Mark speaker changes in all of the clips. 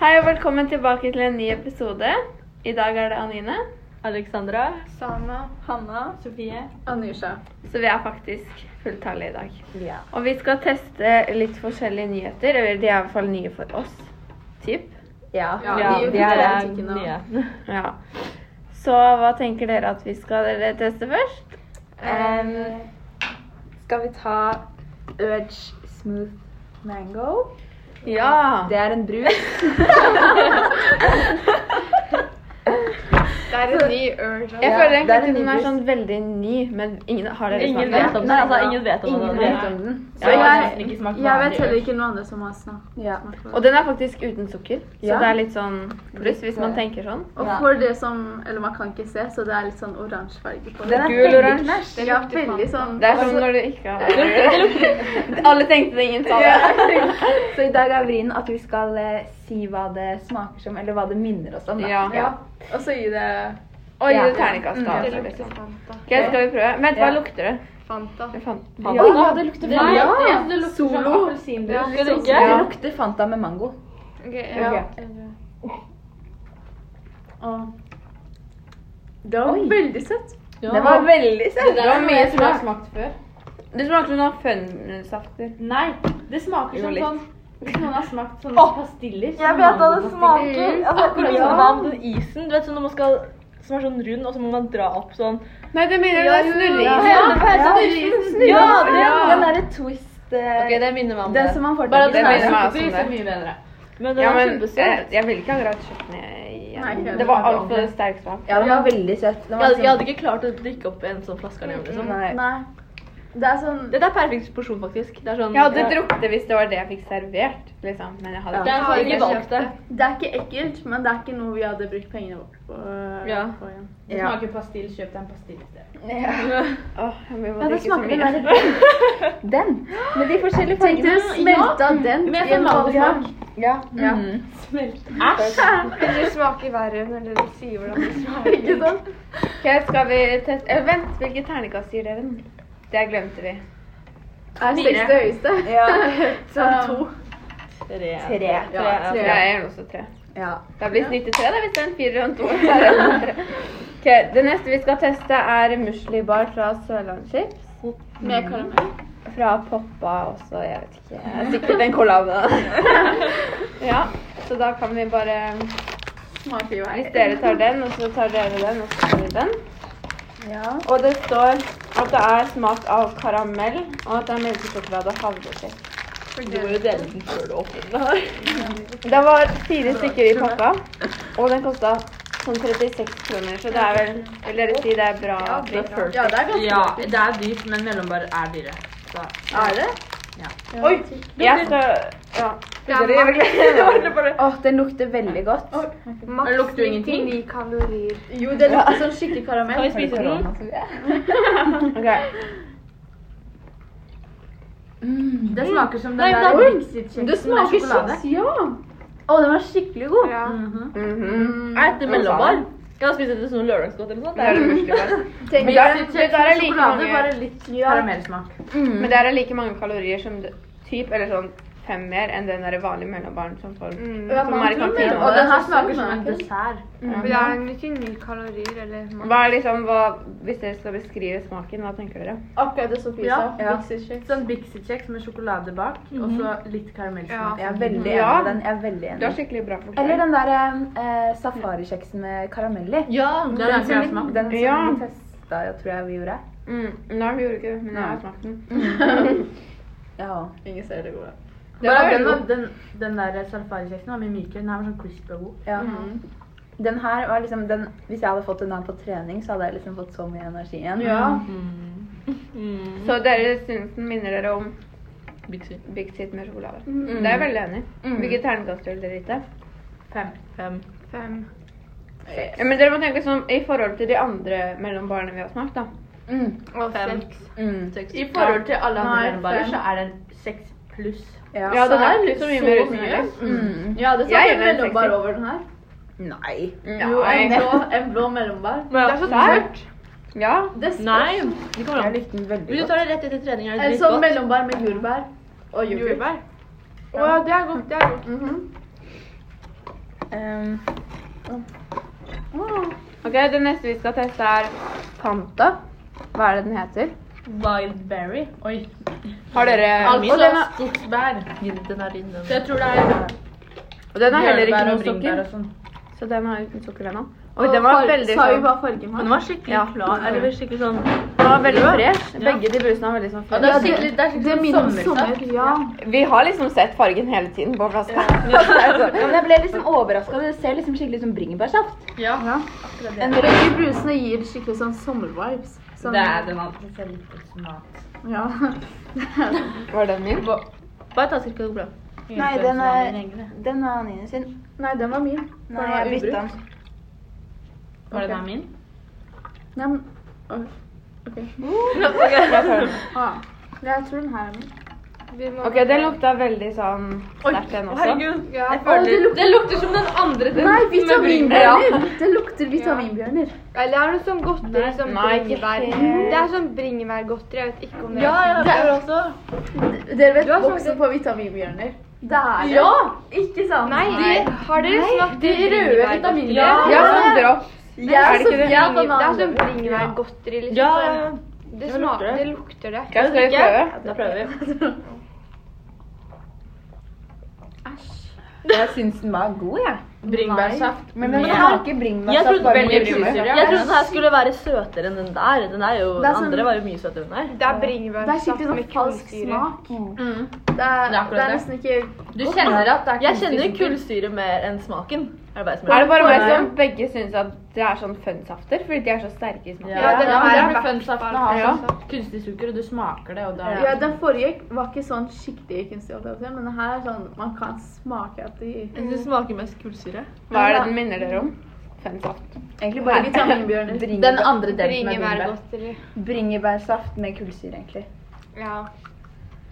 Speaker 1: Hei og velkommen tilbake til en ny episode. I dag er det Anine.
Speaker 2: Alexandra,
Speaker 3: Sana,
Speaker 2: Hanna, Sofie.
Speaker 3: Anusha.
Speaker 1: Så vi er faktisk fulltallige i dag.
Speaker 2: Ja.
Speaker 1: Og vi skal teste litt forskjellige nyheter. Eller de er i hvert fall nye for oss. Typ.
Speaker 2: Ja,
Speaker 3: Ja,
Speaker 2: ja
Speaker 3: vi
Speaker 2: de her
Speaker 3: er
Speaker 2: er
Speaker 3: butikken nå.
Speaker 2: nye.
Speaker 1: Ja. Så hva tenker dere at vi skal dere teste først?
Speaker 4: Eh,
Speaker 2: Em,
Speaker 3: skal vi ta Urge Smooth Mango?
Speaker 1: Ja!
Speaker 3: Det er en brus. det er en ny Urge.
Speaker 1: Jeg
Speaker 3: Ja,
Speaker 1: føler
Speaker 3: det er
Speaker 1: egentlig
Speaker 3: en
Speaker 1: at den er
Speaker 3: nybrus.
Speaker 1: sånn veldig ny, men ingen har dere
Speaker 2: Ingen
Speaker 1: snakket
Speaker 2: vet om den.
Speaker 3: Nei,
Speaker 2: Altså, ingen vet om
Speaker 3: ingen
Speaker 2: den.
Speaker 3: vet om den.
Speaker 1: Ja,
Speaker 3: Så
Speaker 1: jeg har
Speaker 3: jeg,
Speaker 2: nesten ikke smakt
Speaker 3: jeg
Speaker 2: vanlig
Speaker 3: vet heller
Speaker 2: Urge.
Speaker 3: ikke noen andre som har snak- smakt på
Speaker 1: Og
Speaker 3: det.
Speaker 1: den er faktisk uten sukker, så
Speaker 3: Ja.
Speaker 1: det er litt sånn pluss hvis man tenker sånn.
Speaker 3: Og
Speaker 2: Ja.
Speaker 3: for det som Eller man kan ikke se, så det er litt sånn oransje farge på
Speaker 2: Den er
Speaker 1: Gul,
Speaker 2: veldig
Speaker 1: oransje.
Speaker 2: knæsj.
Speaker 3: Ja, veldig sånn
Speaker 1: Det er sånn når du ikke har Alle tenkte det, ingen sa det.
Speaker 4: Så i dag er vrien at vi skal eh, si hva det smaker som, eller hva det minner oss om. Da.
Speaker 1: Ja.
Speaker 3: Ja. Og så gir det
Speaker 1: Og gi
Speaker 4: Ja.
Speaker 1: det terningkast. da, altså, liksom.
Speaker 3: Fanta.
Speaker 1: Ok, skal vi prøve? Vent, hva
Speaker 4: Ja.
Speaker 1: lukter det?
Speaker 3: Fanta.
Speaker 1: Jeg fant-
Speaker 2: Ja.
Speaker 1: fant-
Speaker 4: ja, det lukter
Speaker 2: Nei,
Speaker 4: Fanta.
Speaker 2: det, det lukter
Speaker 3: Solo.
Speaker 2: som appelsinbrus.
Speaker 3: Ja,
Speaker 2: Skal det ikke?
Speaker 1: Ja.
Speaker 4: Det lukter Fanta med mango.
Speaker 3: ja. Å. Det var
Speaker 4: Oi.
Speaker 3: veldig søtt.
Speaker 2: Ja.
Speaker 4: Det var veldig søtt.
Speaker 1: Det var mye som jeg har smakt før. Det smaker som noen fønsafter.
Speaker 2: Nei, det smaker
Speaker 1: Jo,
Speaker 2: som
Speaker 1: litt.
Speaker 2: sånn hvis noen har smakt sånne
Speaker 4: Åh,
Speaker 2: pastiller.
Speaker 4: Jeg
Speaker 2: sånne
Speaker 4: vet hva det
Speaker 2: mangopastiller.
Speaker 4: smaker. Altså,
Speaker 2: Mm. Akkurat
Speaker 4: ja.
Speaker 2: som man, den isen du vet, sånn når man skal, som er sånn rund, og så må man dra opp sånn.
Speaker 1: Nei, det minner om
Speaker 3: jo,
Speaker 1: snurring.
Speaker 3: ja.
Speaker 4: Ja,
Speaker 2: det var
Speaker 4: ja.
Speaker 2: snurrisen, snurrisen.
Speaker 4: ja, den,
Speaker 1: Ja.
Speaker 4: den er et twist. eh,
Speaker 2: Ok, det minner meg om det.
Speaker 4: den som man får
Speaker 2: Bare at
Speaker 4: tak i.
Speaker 2: den
Speaker 1: Det
Speaker 2: er
Speaker 1: minner meg også om
Speaker 2: sukkerfri, så
Speaker 1: det.
Speaker 2: mye bedre. Men den
Speaker 1: Ja,
Speaker 2: er
Speaker 1: men eh, jeg,
Speaker 2: kjempesøt.
Speaker 1: jeg ville ikke akkurat kjøpt den igjen.
Speaker 3: Nei,
Speaker 1: Det var altfor sterk smak.
Speaker 4: Ja, den var veldig søt. Den
Speaker 2: Jeg
Speaker 4: var
Speaker 2: hadde, jeg hadde ikke klart å drikke opp en sånn flaske alene.
Speaker 4: sånn-
Speaker 2: Liksom.
Speaker 4: Nei.
Speaker 3: Nei. Det er sånn
Speaker 2: Dette er perfekt porsjon, faktisk. Det er sånn,
Speaker 1: Jeg hadde drukket det hvis det var det jeg fikk servert, liksom. Men jeg hadde
Speaker 2: Det er sånn, ikke
Speaker 3: Ja.
Speaker 2: valgt det.
Speaker 3: Det er ikke ekkelt, men det er ikke noe vi hadde brukt pengene våre på. eh,
Speaker 2: Ja.
Speaker 3: på igjen.
Speaker 2: Det
Speaker 4: Ja.
Speaker 2: smaker pastill, kjøp deg en pastill i stedet.
Speaker 1: Åh, jeg må
Speaker 4: Ja, det
Speaker 1: drikke så
Speaker 4: smaker den
Speaker 1: mye.
Speaker 4: der Den. Med de forskjellige
Speaker 3: Tenk
Speaker 4: fargene.
Speaker 3: dere smelta den
Speaker 2: Med
Speaker 3: i en
Speaker 2: sånn Mm.
Speaker 3: halv dag.
Speaker 4: Ja. ja.
Speaker 2: Smelt.
Speaker 3: Det smaker verre når dere sier hvordan det smaker. ikke sant?
Speaker 1: Ok, skal vi teste eh, Vent, hvilket terningkast gir dere den? Det glemte vi.
Speaker 3: Er seks det høyeste?
Speaker 4: Ja.
Speaker 3: Så to.
Speaker 2: Tre.
Speaker 4: Tre.
Speaker 3: Ja, tre.
Speaker 1: Ja, jeg gir den også tre.
Speaker 4: Ja.
Speaker 1: Da blir snittet tre, da, hvis det er en firer og en toer. så er det en tre. Ok, Det neste vi skal teste, er muslibar fra Sørlandschips.
Speaker 3: Med karamell.
Speaker 1: Fra Poppa også, jeg vet ikke. Det er Sikkert en kollab. da. ja, så da kan vi bare
Speaker 3: Smaker jo
Speaker 1: Hvis
Speaker 3: her.
Speaker 1: dere tar den, og så tar dere den, og så tar vi den.
Speaker 4: ja.
Speaker 1: Og det står at det er smak av karamell, og at det er melkesjokolade og havrekjeks.
Speaker 2: Du må jo dele den før du åpner den her.
Speaker 1: Det var fire stykker i pakka, og den kosta sånn 36 kroner, så det er vel Vil dere si det er bra? pris?
Speaker 3: Ja, det er ganske
Speaker 2: Ja, det er dyrt, men mellombar er dyre. Så.
Speaker 3: Er det?
Speaker 2: Ja.
Speaker 3: Oi!
Speaker 1: Jeg skal Ja.
Speaker 3: Ja,
Speaker 1: Dere gjør vel-
Speaker 4: Åh, den lukter veldig godt.
Speaker 2: Men det lukter jo ingenting.
Speaker 3: Jo, det lukter sånn skikkelig
Speaker 2: Kan vi
Speaker 3: karamell.
Speaker 2: spise den?
Speaker 1: Ok.
Speaker 2: Det smaker som
Speaker 3: Mm. Nei, det er Brexit-kjeks.
Speaker 2: Det smaker kjeks,
Speaker 3: ja. Å, den var skikkelig god. Mm.
Speaker 1: Mhm.
Speaker 2: Jeg heter mellombar. Jeg har spist dette som lørdagsgodt eller noe sånt.
Speaker 1: Det er
Speaker 5: Mm.
Speaker 1: det muslibar.
Speaker 3: Tenk
Speaker 1: Men
Speaker 3: deg
Speaker 1: det er-
Speaker 3: kjeks
Speaker 1: det der er
Speaker 3: med
Speaker 1: like
Speaker 3: sjokolade,
Speaker 1: mange-
Speaker 3: bare litt
Speaker 2: Karamellsmak.
Speaker 1: Men det er like mange kalorier som det- typ, eller sånn fem mer enn den der vanlige mellombaren som får som er i kantina.
Speaker 3: Og
Speaker 2: Og
Speaker 3: den
Speaker 2: den
Speaker 3: her
Speaker 2: smaker som
Speaker 3: smaker.
Speaker 2: en dessert.
Speaker 1: Mhm.
Speaker 3: Mm.
Speaker 6: Det er ikke mye kalorier eller mat.
Speaker 1: Hva er liksom, hva, Hvis dere skal beskrive smaken, hva tenker dere?
Speaker 3: Akkurat det Sofie sa.
Speaker 2: Ja.
Speaker 4: Ja.
Speaker 3: Brexit-kjeks.
Speaker 5: Sånn Bixie-kjeks med sjokolade bak, og så litt karamellsmak.
Speaker 4: Jeg er veldig enig
Speaker 1: Ja.
Speaker 4: med den. Jeg er veldig
Speaker 1: Du har
Speaker 4: enig.
Speaker 1: skikkelig bra forklaring.
Speaker 4: Eller den der eh, safarikjeksen med karamell i.
Speaker 2: Ja, det er
Speaker 4: Den som
Speaker 2: smak.
Speaker 4: vi, den som
Speaker 1: Ja.
Speaker 4: vi testa, jeg tror jeg vi gjorde.
Speaker 1: mm. Nei, vi gjorde ikke det, men jeg har smakt den.
Speaker 4: Ja.
Speaker 3: Ingen ser det gode.
Speaker 1: Det
Speaker 5: Bare
Speaker 1: var
Speaker 5: den,
Speaker 1: veldig
Speaker 5: var- den, den der salfarikjeksen var mye mykere. Den her var sånn crispy og god.
Speaker 4: ja.
Speaker 1: Mm.
Speaker 4: Den her var liksom den Hvis jeg hadde fått den her på trening, så hadde jeg liksom fått så mye energi igjen.
Speaker 3: Ja.
Speaker 5: Mm.
Speaker 1: god. Så dere syns den minner dere om
Speaker 2: Bixie.
Speaker 1: Big Tit med sjokolade? Det er jeg veldig enig i. Hvilket terningkast vil dere gitt det?
Speaker 5: Fem.
Speaker 2: Fem.
Speaker 6: Fem.
Speaker 1: Ja, men dere må tenke sånn i forhold til de andre mellombarene vi har smakt, da.
Speaker 4: Mm.
Speaker 6: Og
Speaker 2: Fem.
Speaker 6: seks.
Speaker 4: Mm.
Speaker 2: Seks.
Speaker 5: I forhold til alle andre
Speaker 3: Nei,
Speaker 5: mellombarer
Speaker 3: fem.
Speaker 5: så er den seks pluss.
Speaker 4: Ja.
Speaker 1: Ja, den er
Speaker 3: så er
Speaker 1: ikke så mye
Speaker 3: så
Speaker 1: mer
Speaker 3: mye.
Speaker 1: rusmidler.
Speaker 4: Mm.
Speaker 3: Ja, det
Speaker 1: Jeg
Speaker 3: smaker
Speaker 1: gir den en
Speaker 3: mellombar
Speaker 1: sekser.
Speaker 3: over den her.
Speaker 4: Nei.
Speaker 3: Jo, en
Speaker 1: Nei.
Speaker 3: blå, en blå mellombar.
Speaker 2: Men
Speaker 1: Det er så tørt. Ja.
Speaker 3: Det smaker-
Speaker 2: Nei, det kommer
Speaker 4: Jeg
Speaker 2: an.
Speaker 4: likte den veldig
Speaker 2: Hvis du
Speaker 4: godt.
Speaker 2: tar det rett etter trening, er det
Speaker 3: En
Speaker 2: dritgodt.
Speaker 3: sånn mellombar med jordbær og yoghurt. Mhm.
Speaker 6: Jordbær. Å ja, det er godt. Det er godt.
Speaker 4: Ehm,
Speaker 1: Ok, Det neste vi skal teste, er Fanta. Hva er det den heter?
Speaker 2: Wildberry. Oi.
Speaker 1: Har dere
Speaker 2: Altså
Speaker 1: og den, er,
Speaker 2: skogsbær.
Speaker 3: Den er inne.
Speaker 2: Så jeg tror det er
Speaker 1: og den har heller ikke
Speaker 3: Bjørnebær og
Speaker 1: noe
Speaker 3: bringebær
Speaker 1: sukker.
Speaker 3: og sånn.
Speaker 1: Så den har uten sukker ennå. Og den var
Speaker 3: Far-
Speaker 1: veldig
Speaker 3: Sa vi
Speaker 1: sånn
Speaker 3: hva fargen
Speaker 2: Men
Speaker 3: var?
Speaker 2: den var skikkelig
Speaker 1: Ja.
Speaker 2: klar. Eller skikkelig sånn
Speaker 1: Den var veldig fresh. Begge de brusene var veldig sånn
Speaker 2: det
Speaker 1: fresh.
Speaker 2: er skikkelig, det er skikkelig
Speaker 3: min
Speaker 2: sånn sommersaft.
Speaker 3: sommer, ja.
Speaker 1: Vi har liksom sett fargen hele tiden på flaska.
Speaker 4: ja, men jeg ble liksom overraska. Det ser liksom skikkelig ut som bringebærsaft.
Speaker 2: Ja.
Speaker 3: Ja. Men
Speaker 2: En
Speaker 3: de brusene gir skikkelig sånn sommervibes. Sånn,
Speaker 2: den alltid ser litt ut som mat.
Speaker 3: Ja.
Speaker 1: Var den min?
Speaker 2: Bare ta cirka det går bra.
Speaker 4: Nei, den er, den er Anine sin.
Speaker 3: Nei, den var min.
Speaker 4: Nei, jeg bytta den.
Speaker 2: Var det den min?
Speaker 3: Nei, men, Oi. ok.
Speaker 1: Jeg tar den.
Speaker 3: Ah, jeg tror den her er min.
Speaker 6: Vi må-
Speaker 1: Ok, den lukta veldig sånn sterkt, den også.
Speaker 2: Herregud.
Speaker 6: Ja.
Speaker 3: Å, det lukter,
Speaker 2: Det lukter som den andre til
Speaker 3: nei,
Speaker 1: Ja.
Speaker 3: vitaminbjørner! Det lukter vitaminbjørner.
Speaker 6: Eller er det sånn godteri som
Speaker 1: Nei, ikke
Speaker 6: bringebær?
Speaker 1: helt.
Speaker 6: Det er sånn bringebærgodteri. Jeg vet ikke om det
Speaker 2: Ja, ja, det er også.
Speaker 3: Dere vet
Speaker 6: Du har
Speaker 3: boksen
Speaker 6: smakt
Speaker 3: på vitaminbjørner? Det er det.
Speaker 2: Ja!
Speaker 3: Ikke sant?
Speaker 6: Nei, det, har dere smakt
Speaker 3: De røde
Speaker 6: bringebær-
Speaker 3: vitaminbjørnene.
Speaker 1: Ja, sånn dropp.
Speaker 3: Jeg
Speaker 1: Er
Speaker 3: er
Speaker 1: det
Speaker 3: så
Speaker 1: ikke det?
Speaker 3: jeg er
Speaker 6: Bringe- Det er
Speaker 3: banan.
Speaker 6: sånn bringebærgodteri. Liksom.
Speaker 2: Ja, ja, ja.
Speaker 6: sånn. Det,
Speaker 2: Ja, men lukter
Speaker 6: smaker,
Speaker 2: det?
Speaker 6: det lukter det.
Speaker 1: Skal vi prøve?
Speaker 2: Da prøver vi.
Speaker 4: Jeg syns den var god, jeg.
Speaker 3: Bringebærsaft.
Speaker 4: Men den
Speaker 2: Ja.
Speaker 4: har ikke bringebærsaft.
Speaker 2: Jeg trodde
Speaker 4: bare
Speaker 2: veldig
Speaker 4: med
Speaker 1: bringebær.
Speaker 4: juice.
Speaker 2: Jeg trodde den her skulle være søtere enn den der. Den, er
Speaker 3: Det
Speaker 2: jo,
Speaker 3: er
Speaker 2: den
Speaker 3: sånn-
Speaker 2: andre var jo mye søtere enn den der.
Speaker 6: Det er
Speaker 3: Det er
Speaker 6: bringebærsaft
Speaker 3: skikkelig sånn
Speaker 6: med
Speaker 3: falsk
Speaker 6: kullsyre.
Speaker 3: smak.
Speaker 2: Mm.
Speaker 3: Det er,
Speaker 2: Det er akkurat
Speaker 3: det er
Speaker 2: det.
Speaker 3: nesten ikke
Speaker 2: Du kjenner at
Speaker 3: det er
Speaker 2: Jeg kjenner
Speaker 3: kullsyre.
Speaker 2: kullsyre mer enn smaken. Er det bare som
Speaker 1: Er det bare meg
Speaker 2: Ja.
Speaker 1: som begge syns at det er sånn funsafter? Fordi de er så sterke i smaken.
Speaker 6: Ja, den
Speaker 3: men
Speaker 6: er
Speaker 3: det
Speaker 6: i hvert
Speaker 3: funsaften
Speaker 6: fall
Speaker 3: å ha
Speaker 1: Ja.
Speaker 3: sånn kunstig sukker, og du smaker det, og da
Speaker 2: Ja.
Speaker 3: Ja, den forrige var ikke sånn skikkelig kunstig, holdt jeg på å si, men den her er sånn Man kan smake at de
Speaker 2: Jeg syns det smaker mest kullsyre.
Speaker 1: Hva er det den minner dere om? Funsaft.
Speaker 4: Egentlig
Speaker 3: Bare
Speaker 4: bare
Speaker 3: vitaminbjørner.
Speaker 4: Bringebær-
Speaker 3: Den andre delen med bringebær.
Speaker 6: Bringebærgodteri.
Speaker 4: bringebærsaft med kullsyre, egentlig.
Speaker 6: Ja.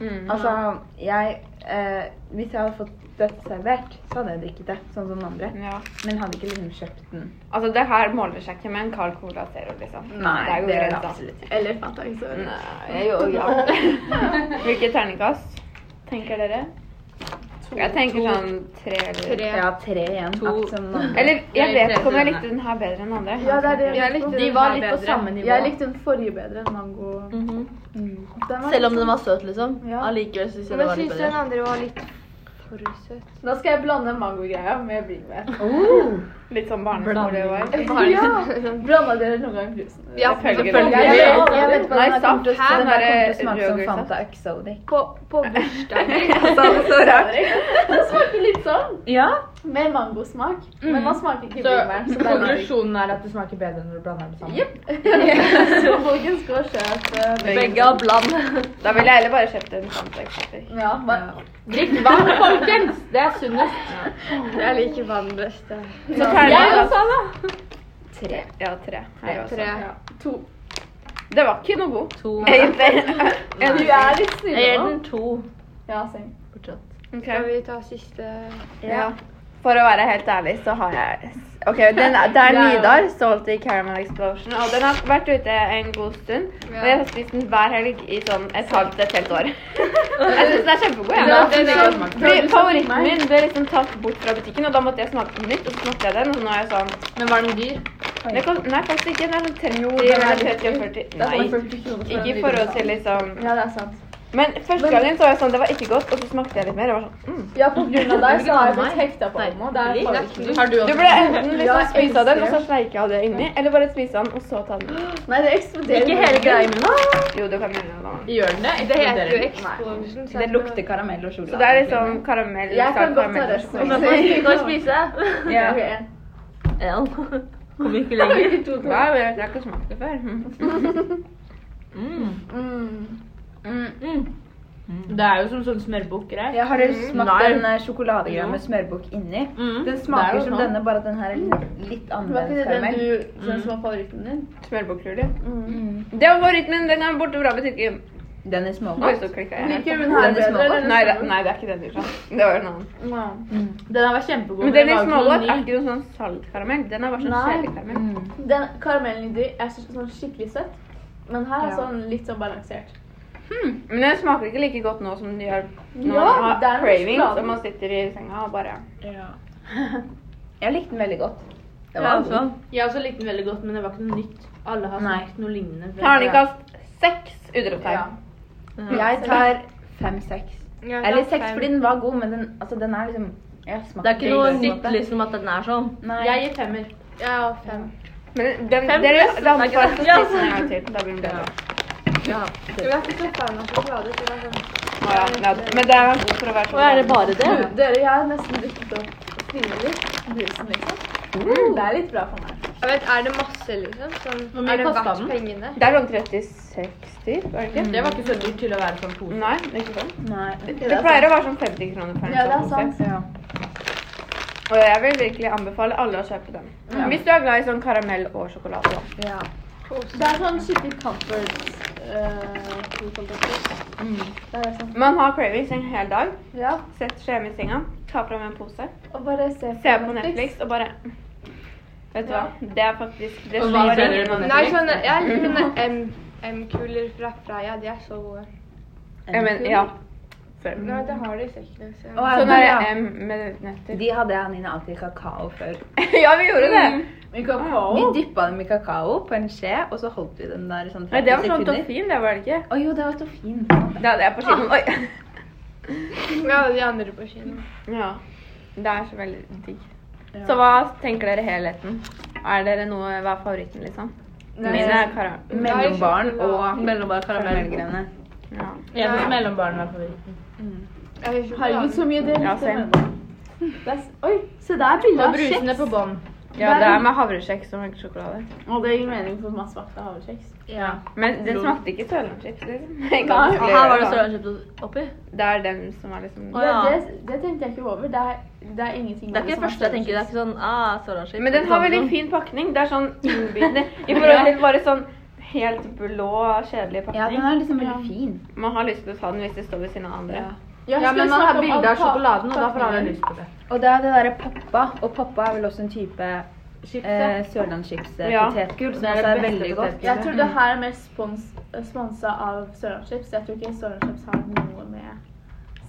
Speaker 1: Mm.
Speaker 4: Altså, jeg eh, Hvis jeg hadde fått dette servert, så hadde jeg drikket det, sånn som den andre.
Speaker 1: Ja.
Speaker 4: Men hadde ikke liksom kjøpt den.
Speaker 1: Altså, det her måler seg ikke med en Carl Cola Zero, liksom. jo grensa.
Speaker 4: ikke.
Speaker 3: Eller Fanta Isor.
Speaker 1: Nei, jo, ja. Hvilket terningkast tenker dere? Jeg tenker sånn tre eller
Speaker 6: Tre.
Speaker 4: Ja, tre igjen.
Speaker 2: To.
Speaker 4: akkurat som den andre.
Speaker 1: Eller jeg
Speaker 2: Nei,
Speaker 1: vet
Speaker 2: tre
Speaker 1: ikke om jeg
Speaker 2: til
Speaker 1: likte den her bedre enn andre.
Speaker 3: Ja, det er det.
Speaker 6: Jeg likte
Speaker 2: De
Speaker 6: den
Speaker 2: var
Speaker 6: her
Speaker 2: litt på
Speaker 6: bedre.
Speaker 2: samme nivå.
Speaker 3: Jeg likte den forrige bedre enn mango. Den var
Speaker 2: Mhm. Selv om
Speaker 3: litt
Speaker 2: den
Speaker 3: sånn-
Speaker 2: var søt, liksom.
Speaker 3: Ja.
Speaker 2: Allikevel syns
Speaker 6: Men jeg
Speaker 2: jeg det var litt
Speaker 6: syns den
Speaker 2: bedre.
Speaker 6: andre var litt for søt.
Speaker 3: Nå skal jeg blande mango-greia med bringebær.
Speaker 4: Oh,
Speaker 1: Litt sånn barneskole i år.
Speaker 3: Ja! Blanda dere noen gang brusen?
Speaker 6: Ja,
Speaker 1: Selvfølgelig.
Speaker 6: selvfølgelig.
Speaker 4: jeg,
Speaker 1: Ja,
Speaker 4: vet-
Speaker 1: ja,
Speaker 4: jeg vet hva
Speaker 1: Nei,
Speaker 4: den her kommer til å
Speaker 1: saft.
Speaker 4: smake. Den her
Speaker 1: Her
Speaker 4: kommer til å smake
Speaker 1: er
Speaker 4: som
Speaker 1: rødgrøt, saft.
Speaker 4: Fanta Exodic.
Speaker 6: På, på bursdagen.
Speaker 1: Så rart.
Speaker 3: Den smaker litt sånn,
Speaker 4: Ja.
Speaker 3: med mangosmak. Men man smaker ikke
Speaker 2: Så
Speaker 3: bringebæren. Så den er
Speaker 7: er at det smaker bedre når du blander det sammen.
Speaker 3: Så folkens, gå og kjøp. eh,
Speaker 2: Begge har bland.
Speaker 1: Da ville jeg heller bare kjøpt en Fanta Exotic.
Speaker 3: Ja, bare
Speaker 2: Drikk vann, folkens! Det er sunnest.
Speaker 6: Jeg liker vann best. jeg.
Speaker 1: Så
Speaker 2: Jeg
Speaker 1: terningkast
Speaker 2: også, da.
Speaker 1: tre. Ja, tre. Her også.
Speaker 6: Tre.
Speaker 3: to.
Speaker 1: Det var ikke noe god,
Speaker 2: To.
Speaker 1: egentlig.
Speaker 3: Du er litt
Speaker 2: Jeg gir
Speaker 3: snill nå.
Speaker 2: den to.
Speaker 3: Ja, same.
Speaker 2: Fortsatt.
Speaker 1: Ok.
Speaker 6: Skal vi ta siste
Speaker 1: Ja. For å være helt ærlig, så har jeg Ok, den er, Det er Nidar, Salty Caramel Explosion. Og den har vært ute en god stund. Og jeg har spist den hver helg i sånn et halvt et helt år. Jeg syns den er kjempegod.
Speaker 3: Ja,
Speaker 1: jeg.
Speaker 3: den er god.
Speaker 1: Fordi
Speaker 2: sånn
Speaker 1: Favoritten min ble liksom tatt bort fra butikken, og da måtte jeg smake den på nytt. Og så smakte jeg den, og nå er jeg sånn
Speaker 2: Men var den dyr?
Speaker 1: det kost, Nei, faktisk ikke. Den er sånn 30
Speaker 3: den er
Speaker 1: eller
Speaker 3: litt
Speaker 1: 30 og 40.
Speaker 3: Det er
Speaker 1: Nei.
Speaker 3: sånn 40 kroner for
Speaker 1: Ikke
Speaker 3: en
Speaker 1: i
Speaker 3: liten
Speaker 1: forhold
Speaker 3: sal.
Speaker 1: til liksom
Speaker 3: Ja, det er sant.
Speaker 1: Men første gangen så var jeg sånn Det var ikke godt, og så smakte jeg litt mer. og var sånn, mm.
Speaker 3: Ja, på grunn av deg så har jeg blitt hekta på
Speaker 2: Nei,
Speaker 3: den nå. Det er favoritten min.
Speaker 2: Har du
Speaker 1: Du
Speaker 2: også?
Speaker 1: burde enten liksom
Speaker 3: Ja, jeg
Speaker 1: spise av den, og
Speaker 3: elsker
Speaker 1: så sleike av det inni, eller bare spise den, og så ta den.
Speaker 3: Nei, det eksploderer.
Speaker 2: Ikke hele greia med den.
Speaker 1: Jo, du kan begynne med den.
Speaker 2: Gjør den det?
Speaker 6: Det heter jo
Speaker 2: Eksploderer.
Speaker 6: Explosion. så
Speaker 4: Det lukter karamell og sjokolade.
Speaker 1: Så det er liksom karamell
Speaker 3: Jeg kan
Speaker 1: salt
Speaker 3: godt ta
Speaker 1: karamell.
Speaker 3: resten.
Speaker 2: Men man skal ikke spise.
Speaker 4: Ja.
Speaker 3: Ok.
Speaker 2: En. Kom ikke lenger.
Speaker 1: Nei, men jeg har ikke smakt det før. Mm.
Speaker 2: Mm.
Speaker 3: Mm.
Speaker 2: Mm. Det er jo som sånn smørbukker her.
Speaker 4: Ja, har dere smakt
Speaker 2: Nei.
Speaker 4: den eh, sjokoladegreia med smørbukke inni?
Speaker 2: Mm.
Speaker 4: Den
Speaker 2: Det er
Speaker 4: smaker
Speaker 2: jo
Speaker 4: som
Speaker 2: sånn.
Speaker 4: denne, bare at den her er litt- litt
Speaker 3: Var ikke
Speaker 4: annerledes
Speaker 3: det den
Speaker 4: karamell.
Speaker 3: du Den som var favoritten din?
Speaker 1: Smørbukkrull, ja.
Speaker 4: Mm.
Speaker 1: Det var favoritten min. Den er borte fra butikken.
Speaker 4: Den er
Speaker 1: Oi,
Speaker 4: smågodt.
Speaker 1: så klikka jeg.
Speaker 3: Liker du den her
Speaker 4: Den er
Speaker 3: bedre?
Speaker 4: smågodt.
Speaker 3: eller
Speaker 1: Nei, det,
Speaker 3: den
Speaker 1: nei, det er ikke den du sa. Det var en annen.
Speaker 3: smaker? Nei.
Speaker 4: Mm.
Speaker 7: Den her var kjempegod.
Speaker 1: Men den
Speaker 7: det
Speaker 1: i
Speaker 7: var jo ikke
Speaker 1: smågodt
Speaker 7: noe
Speaker 1: er
Speaker 7: ny.
Speaker 1: ikke noen sånn saltkaramell. Den er bare sånn
Speaker 3: Nei.
Speaker 1: kjelekaramell.
Speaker 4: Mm.
Speaker 3: Den karamellen i de er så- sånn skikkelig søt, men her er
Speaker 4: Ja.
Speaker 3: sånn litt sånn balansert.
Speaker 1: Hmm. Men den smaker ikke like godt nå som den gjør når
Speaker 3: Ja,
Speaker 1: man
Speaker 3: det er
Speaker 1: har
Speaker 3: noe
Speaker 1: cravings
Speaker 3: sjokolade.
Speaker 1: og man sitter i senga og bare
Speaker 4: Ja. Jeg likte den veldig godt. Det
Speaker 2: Ja,
Speaker 4: var god.
Speaker 2: sånn. Jeg også likte den veldig godt, men det var ikke noe nytt. Alle har
Speaker 4: Nei.
Speaker 2: smakt noe lignende. før.
Speaker 1: Terningkast seks utropstegn.
Speaker 4: Mm. Jeg tar fem-seks.
Speaker 6: Ja,
Speaker 4: Eller
Speaker 6: da
Speaker 4: seks
Speaker 6: fem.
Speaker 4: fordi den var god, men den, altså, den er liksom jeg smakte
Speaker 8: Det er ikke noe
Speaker 4: på en
Speaker 8: nytt
Speaker 4: måte.
Speaker 8: liksom at den er sånn.
Speaker 4: Nei.
Speaker 2: Jeg gir femmer.
Speaker 6: Ja, og fem.
Speaker 1: Men den,
Speaker 8: Fem
Speaker 1: dere
Speaker 8: beste,
Speaker 1: lander
Speaker 8: det er
Speaker 1: på
Speaker 8: ikke sant?
Speaker 1: seks en gang til. Da blir den bedre.
Speaker 6: Jeg er ikke så fan av sjokolade. så det er sånn-
Speaker 1: Å ja, ja, men det er god for å være
Speaker 8: er det bare det?
Speaker 3: Du, dere, jeg har nesten drukket opp frivillig brusen, liksom. Det er litt bra for meg.
Speaker 6: Jeg vet, Er det masse, liksom? Sånn,
Speaker 2: Hvor mye
Speaker 6: er det
Speaker 2: kostet
Speaker 6: verdt
Speaker 2: den?
Speaker 6: pengene?
Speaker 1: Det er sånn 36 typ, er det ikke?
Speaker 7: Det var ikke så dyrt til å være sånn pose.
Speaker 1: Nei, det er ikke sånn.
Speaker 4: Nei.
Speaker 1: Det pleier å være sånn 50 kroner for en
Speaker 3: Ja, det er
Speaker 1: sånn
Speaker 3: sant.
Speaker 1: pose. Og jeg vil virkelig anbefale alle å kjøpe den. Hvis du er glad i sånn karamell og sjokolade. da.
Speaker 4: Ja.
Speaker 3: Det er sånn skikkelig comfort eh, food, holdt jeg på å si. Det er sånn.
Speaker 1: Man har cravings en hel dag.
Speaker 3: Ja,
Speaker 1: Sett skjema i senga, ta fram en pose,
Speaker 3: og bare se
Speaker 1: se på Netflix og bare Vet du hva, det er faktisk det
Speaker 7: Og hva
Speaker 1: slår
Speaker 7: trener
Speaker 1: ingen.
Speaker 7: du på Netflix?
Speaker 6: Nei,
Speaker 3: sånn,
Speaker 6: sånne, jeg liker sånne M- M-kuler fra Freia. De er så gode.
Speaker 1: Ja, men, ja. Før.
Speaker 6: Nei, det har de sikkert. liksom.
Speaker 4: Og
Speaker 1: Sånn
Speaker 4: Erna,
Speaker 1: er
Speaker 4: ja.
Speaker 1: det M med nøtter.
Speaker 4: De hadde jeg og Nina alltid i kakao før.
Speaker 1: ja, vi gjorde det!
Speaker 4: Vi dyppa dem i kakao på en skje, og så holdt vi den der i sånn
Speaker 1: Nei, det var
Speaker 4: 30
Speaker 1: sånn
Speaker 4: sekunder.
Speaker 1: toffin, det var det ikke? Ah.
Speaker 4: Å jo, det var toffin.
Speaker 1: Det hadde jeg på kinoen. Oi!
Speaker 3: Mm.
Speaker 6: Ja, de andre på kino.
Speaker 1: Ja. Det er så veldig digg. Så hva tenker dere helheten? Er dere noe Hva er favoritten, liksom? Min er karamell.
Speaker 4: Mellombarn
Speaker 6: Nei,
Speaker 4: og
Speaker 8: Mellombar karamell.
Speaker 4: karamellgrønne.
Speaker 1: Ja.
Speaker 2: Jeg syns mellombarnen var favoritten.
Speaker 6: Jeg vil ikke
Speaker 3: Herregud, så mye dere
Speaker 1: Ja,
Speaker 3: likte
Speaker 1: same.
Speaker 3: med det. er s- Oi, se der er bildet
Speaker 2: Og
Speaker 3: av
Speaker 2: brusene
Speaker 3: kjeks.
Speaker 2: på bånn.
Speaker 1: ja, det er med havrekjeks og melkesjokolade.
Speaker 3: Og det gir mening for man smakte havrekjeks.
Speaker 2: Ja.
Speaker 1: Men den smakte ikke sørlandschips. Liksom. Jeg kan
Speaker 3: Nei,
Speaker 1: ikke
Speaker 8: Og her var det
Speaker 1: gjøre det.
Speaker 8: sørlandskjøtt oppi.
Speaker 1: Det er den som er liksom
Speaker 8: Å, ja.
Speaker 3: det, det, det tenkte jeg ikke over. Det er, det er ingenting
Speaker 8: Det er ikke det første jeg tenker. Det er ikke sånn ah, sørlandskjøtt.
Speaker 1: Men den har veldig fin pakning. Det er sånn innbydende i forhold til bare sånn helt blå, kjedelig
Speaker 4: Ja, den
Speaker 1: pakning.
Speaker 4: er liksom veldig fin.
Speaker 1: Man har lyst til å ta den hvis det står ved siden av andre.
Speaker 7: Ja, men man har bilde av sjokoladen, og da får alle lyst på det.
Speaker 4: Og det er det derre pappa, og pappa er vel også en type eh,
Speaker 1: Ja.
Speaker 4: sørlandschips-potetgull, som
Speaker 7: Det er
Speaker 4: også er
Speaker 7: det beste
Speaker 4: veldig godt.
Speaker 7: potetgullet.
Speaker 3: Jeg tror det her er mer spons, sponsa av Sørlandschips. Jeg tror ikke Sørlandschips har noe med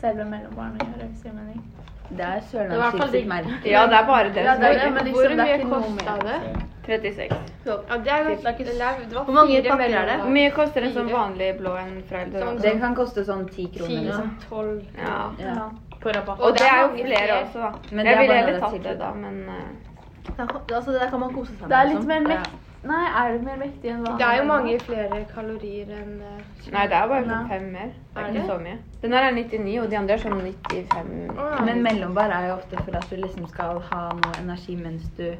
Speaker 3: selve mellombarnet å gjøre. hvis det gir mening.
Speaker 4: Det er
Speaker 2: i hvert fall
Speaker 4: sørlandschips
Speaker 2: digg.
Speaker 4: sitt merke.
Speaker 1: Ja, det er bare det
Speaker 3: Ja,
Speaker 1: som
Speaker 3: det
Speaker 1: er
Speaker 3: er det, men liksom,
Speaker 6: Hvor
Speaker 3: det er
Speaker 6: mye
Speaker 3: ikke noe
Speaker 6: kosta
Speaker 3: mer.
Speaker 6: det?
Speaker 1: 36.
Speaker 6: Ja, det er ganske
Speaker 8: ikke
Speaker 6: det er- det var
Speaker 8: Hvor mange
Speaker 6: fire
Speaker 8: pakker er det?
Speaker 1: Hvor
Speaker 6: mellomlag.
Speaker 1: mye koster en sånn vanlig blå en fra
Speaker 6: Sånn-
Speaker 1: Eldorado?
Speaker 4: Det kan koste sånn ti kroner,
Speaker 6: Ti,
Speaker 4: liksom.
Speaker 6: tolv
Speaker 1: Ja.
Speaker 4: Ja.
Speaker 2: På rabatt.
Speaker 1: Og det er jo
Speaker 6: mange
Speaker 1: flere
Speaker 6: flere.
Speaker 1: også, da.
Speaker 4: Men
Speaker 1: jeg
Speaker 4: det er
Speaker 1: ville
Speaker 4: bare
Speaker 1: heller
Speaker 4: det
Speaker 1: tatt
Speaker 4: tilbudet.
Speaker 1: det da, men eh,
Speaker 8: Altså, det der kan man kose seg med.
Speaker 3: Det er litt
Speaker 8: liksom.
Speaker 3: mer mektig. Nei, er det mer mektig enn vanlig?
Speaker 6: Det er jo mange flere kalorier enn eh,
Speaker 1: Nei, det er bare
Speaker 3: Nei.
Speaker 1: fem mer. Det er
Speaker 6: Er
Speaker 1: ikke
Speaker 6: det?
Speaker 1: så mye. Den her er 99, og de andre er sånn 95.
Speaker 6: Å, ja.
Speaker 4: Men mellombar er jo ofte for at du liksom skal ha noe energi mens du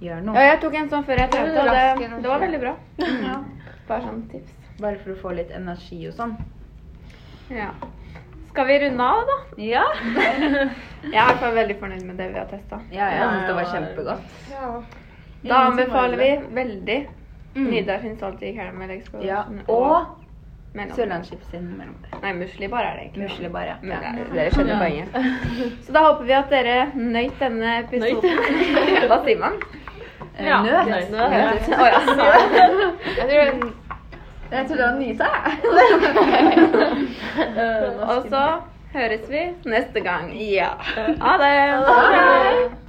Speaker 4: gjør
Speaker 1: Ja,
Speaker 4: noe.
Speaker 1: jeg tok en sånn før jeg trente, og
Speaker 6: Rask
Speaker 1: det,
Speaker 6: energi.
Speaker 1: det var veldig bra. Bare sånn tips.
Speaker 4: Bare for å få litt energi og sånn.
Speaker 1: Ja. Skal vi runde av, da?
Speaker 4: Ja,
Speaker 1: Jeg er i hvert fall veldig fornøyd med det vi har testa.
Speaker 4: ja jeg syns det var kjempegodt.
Speaker 6: Ja.
Speaker 1: Mm. Da anbefaler vi veldig Nidar sin salty caramel explosion.
Speaker 4: Ja, Og
Speaker 1: mellom-
Speaker 4: sørlandschips sin mellombar.
Speaker 1: Nei, muslibar er det egentlig.
Speaker 4: Muslebar, ja.
Speaker 1: Men det er- dere skjønner poenget. Så da håper vi at dere nøyt denne episoden. Hva sier man?
Speaker 4: Eh, Nøt.
Speaker 1: Nøt. Å, ja.
Speaker 6: Jeg tror den-
Speaker 4: Jeg tror det var nysa, jeg.
Speaker 1: Og så høres vi neste gang.
Speaker 4: Ja.
Speaker 1: Ha det.
Speaker 6: Hei.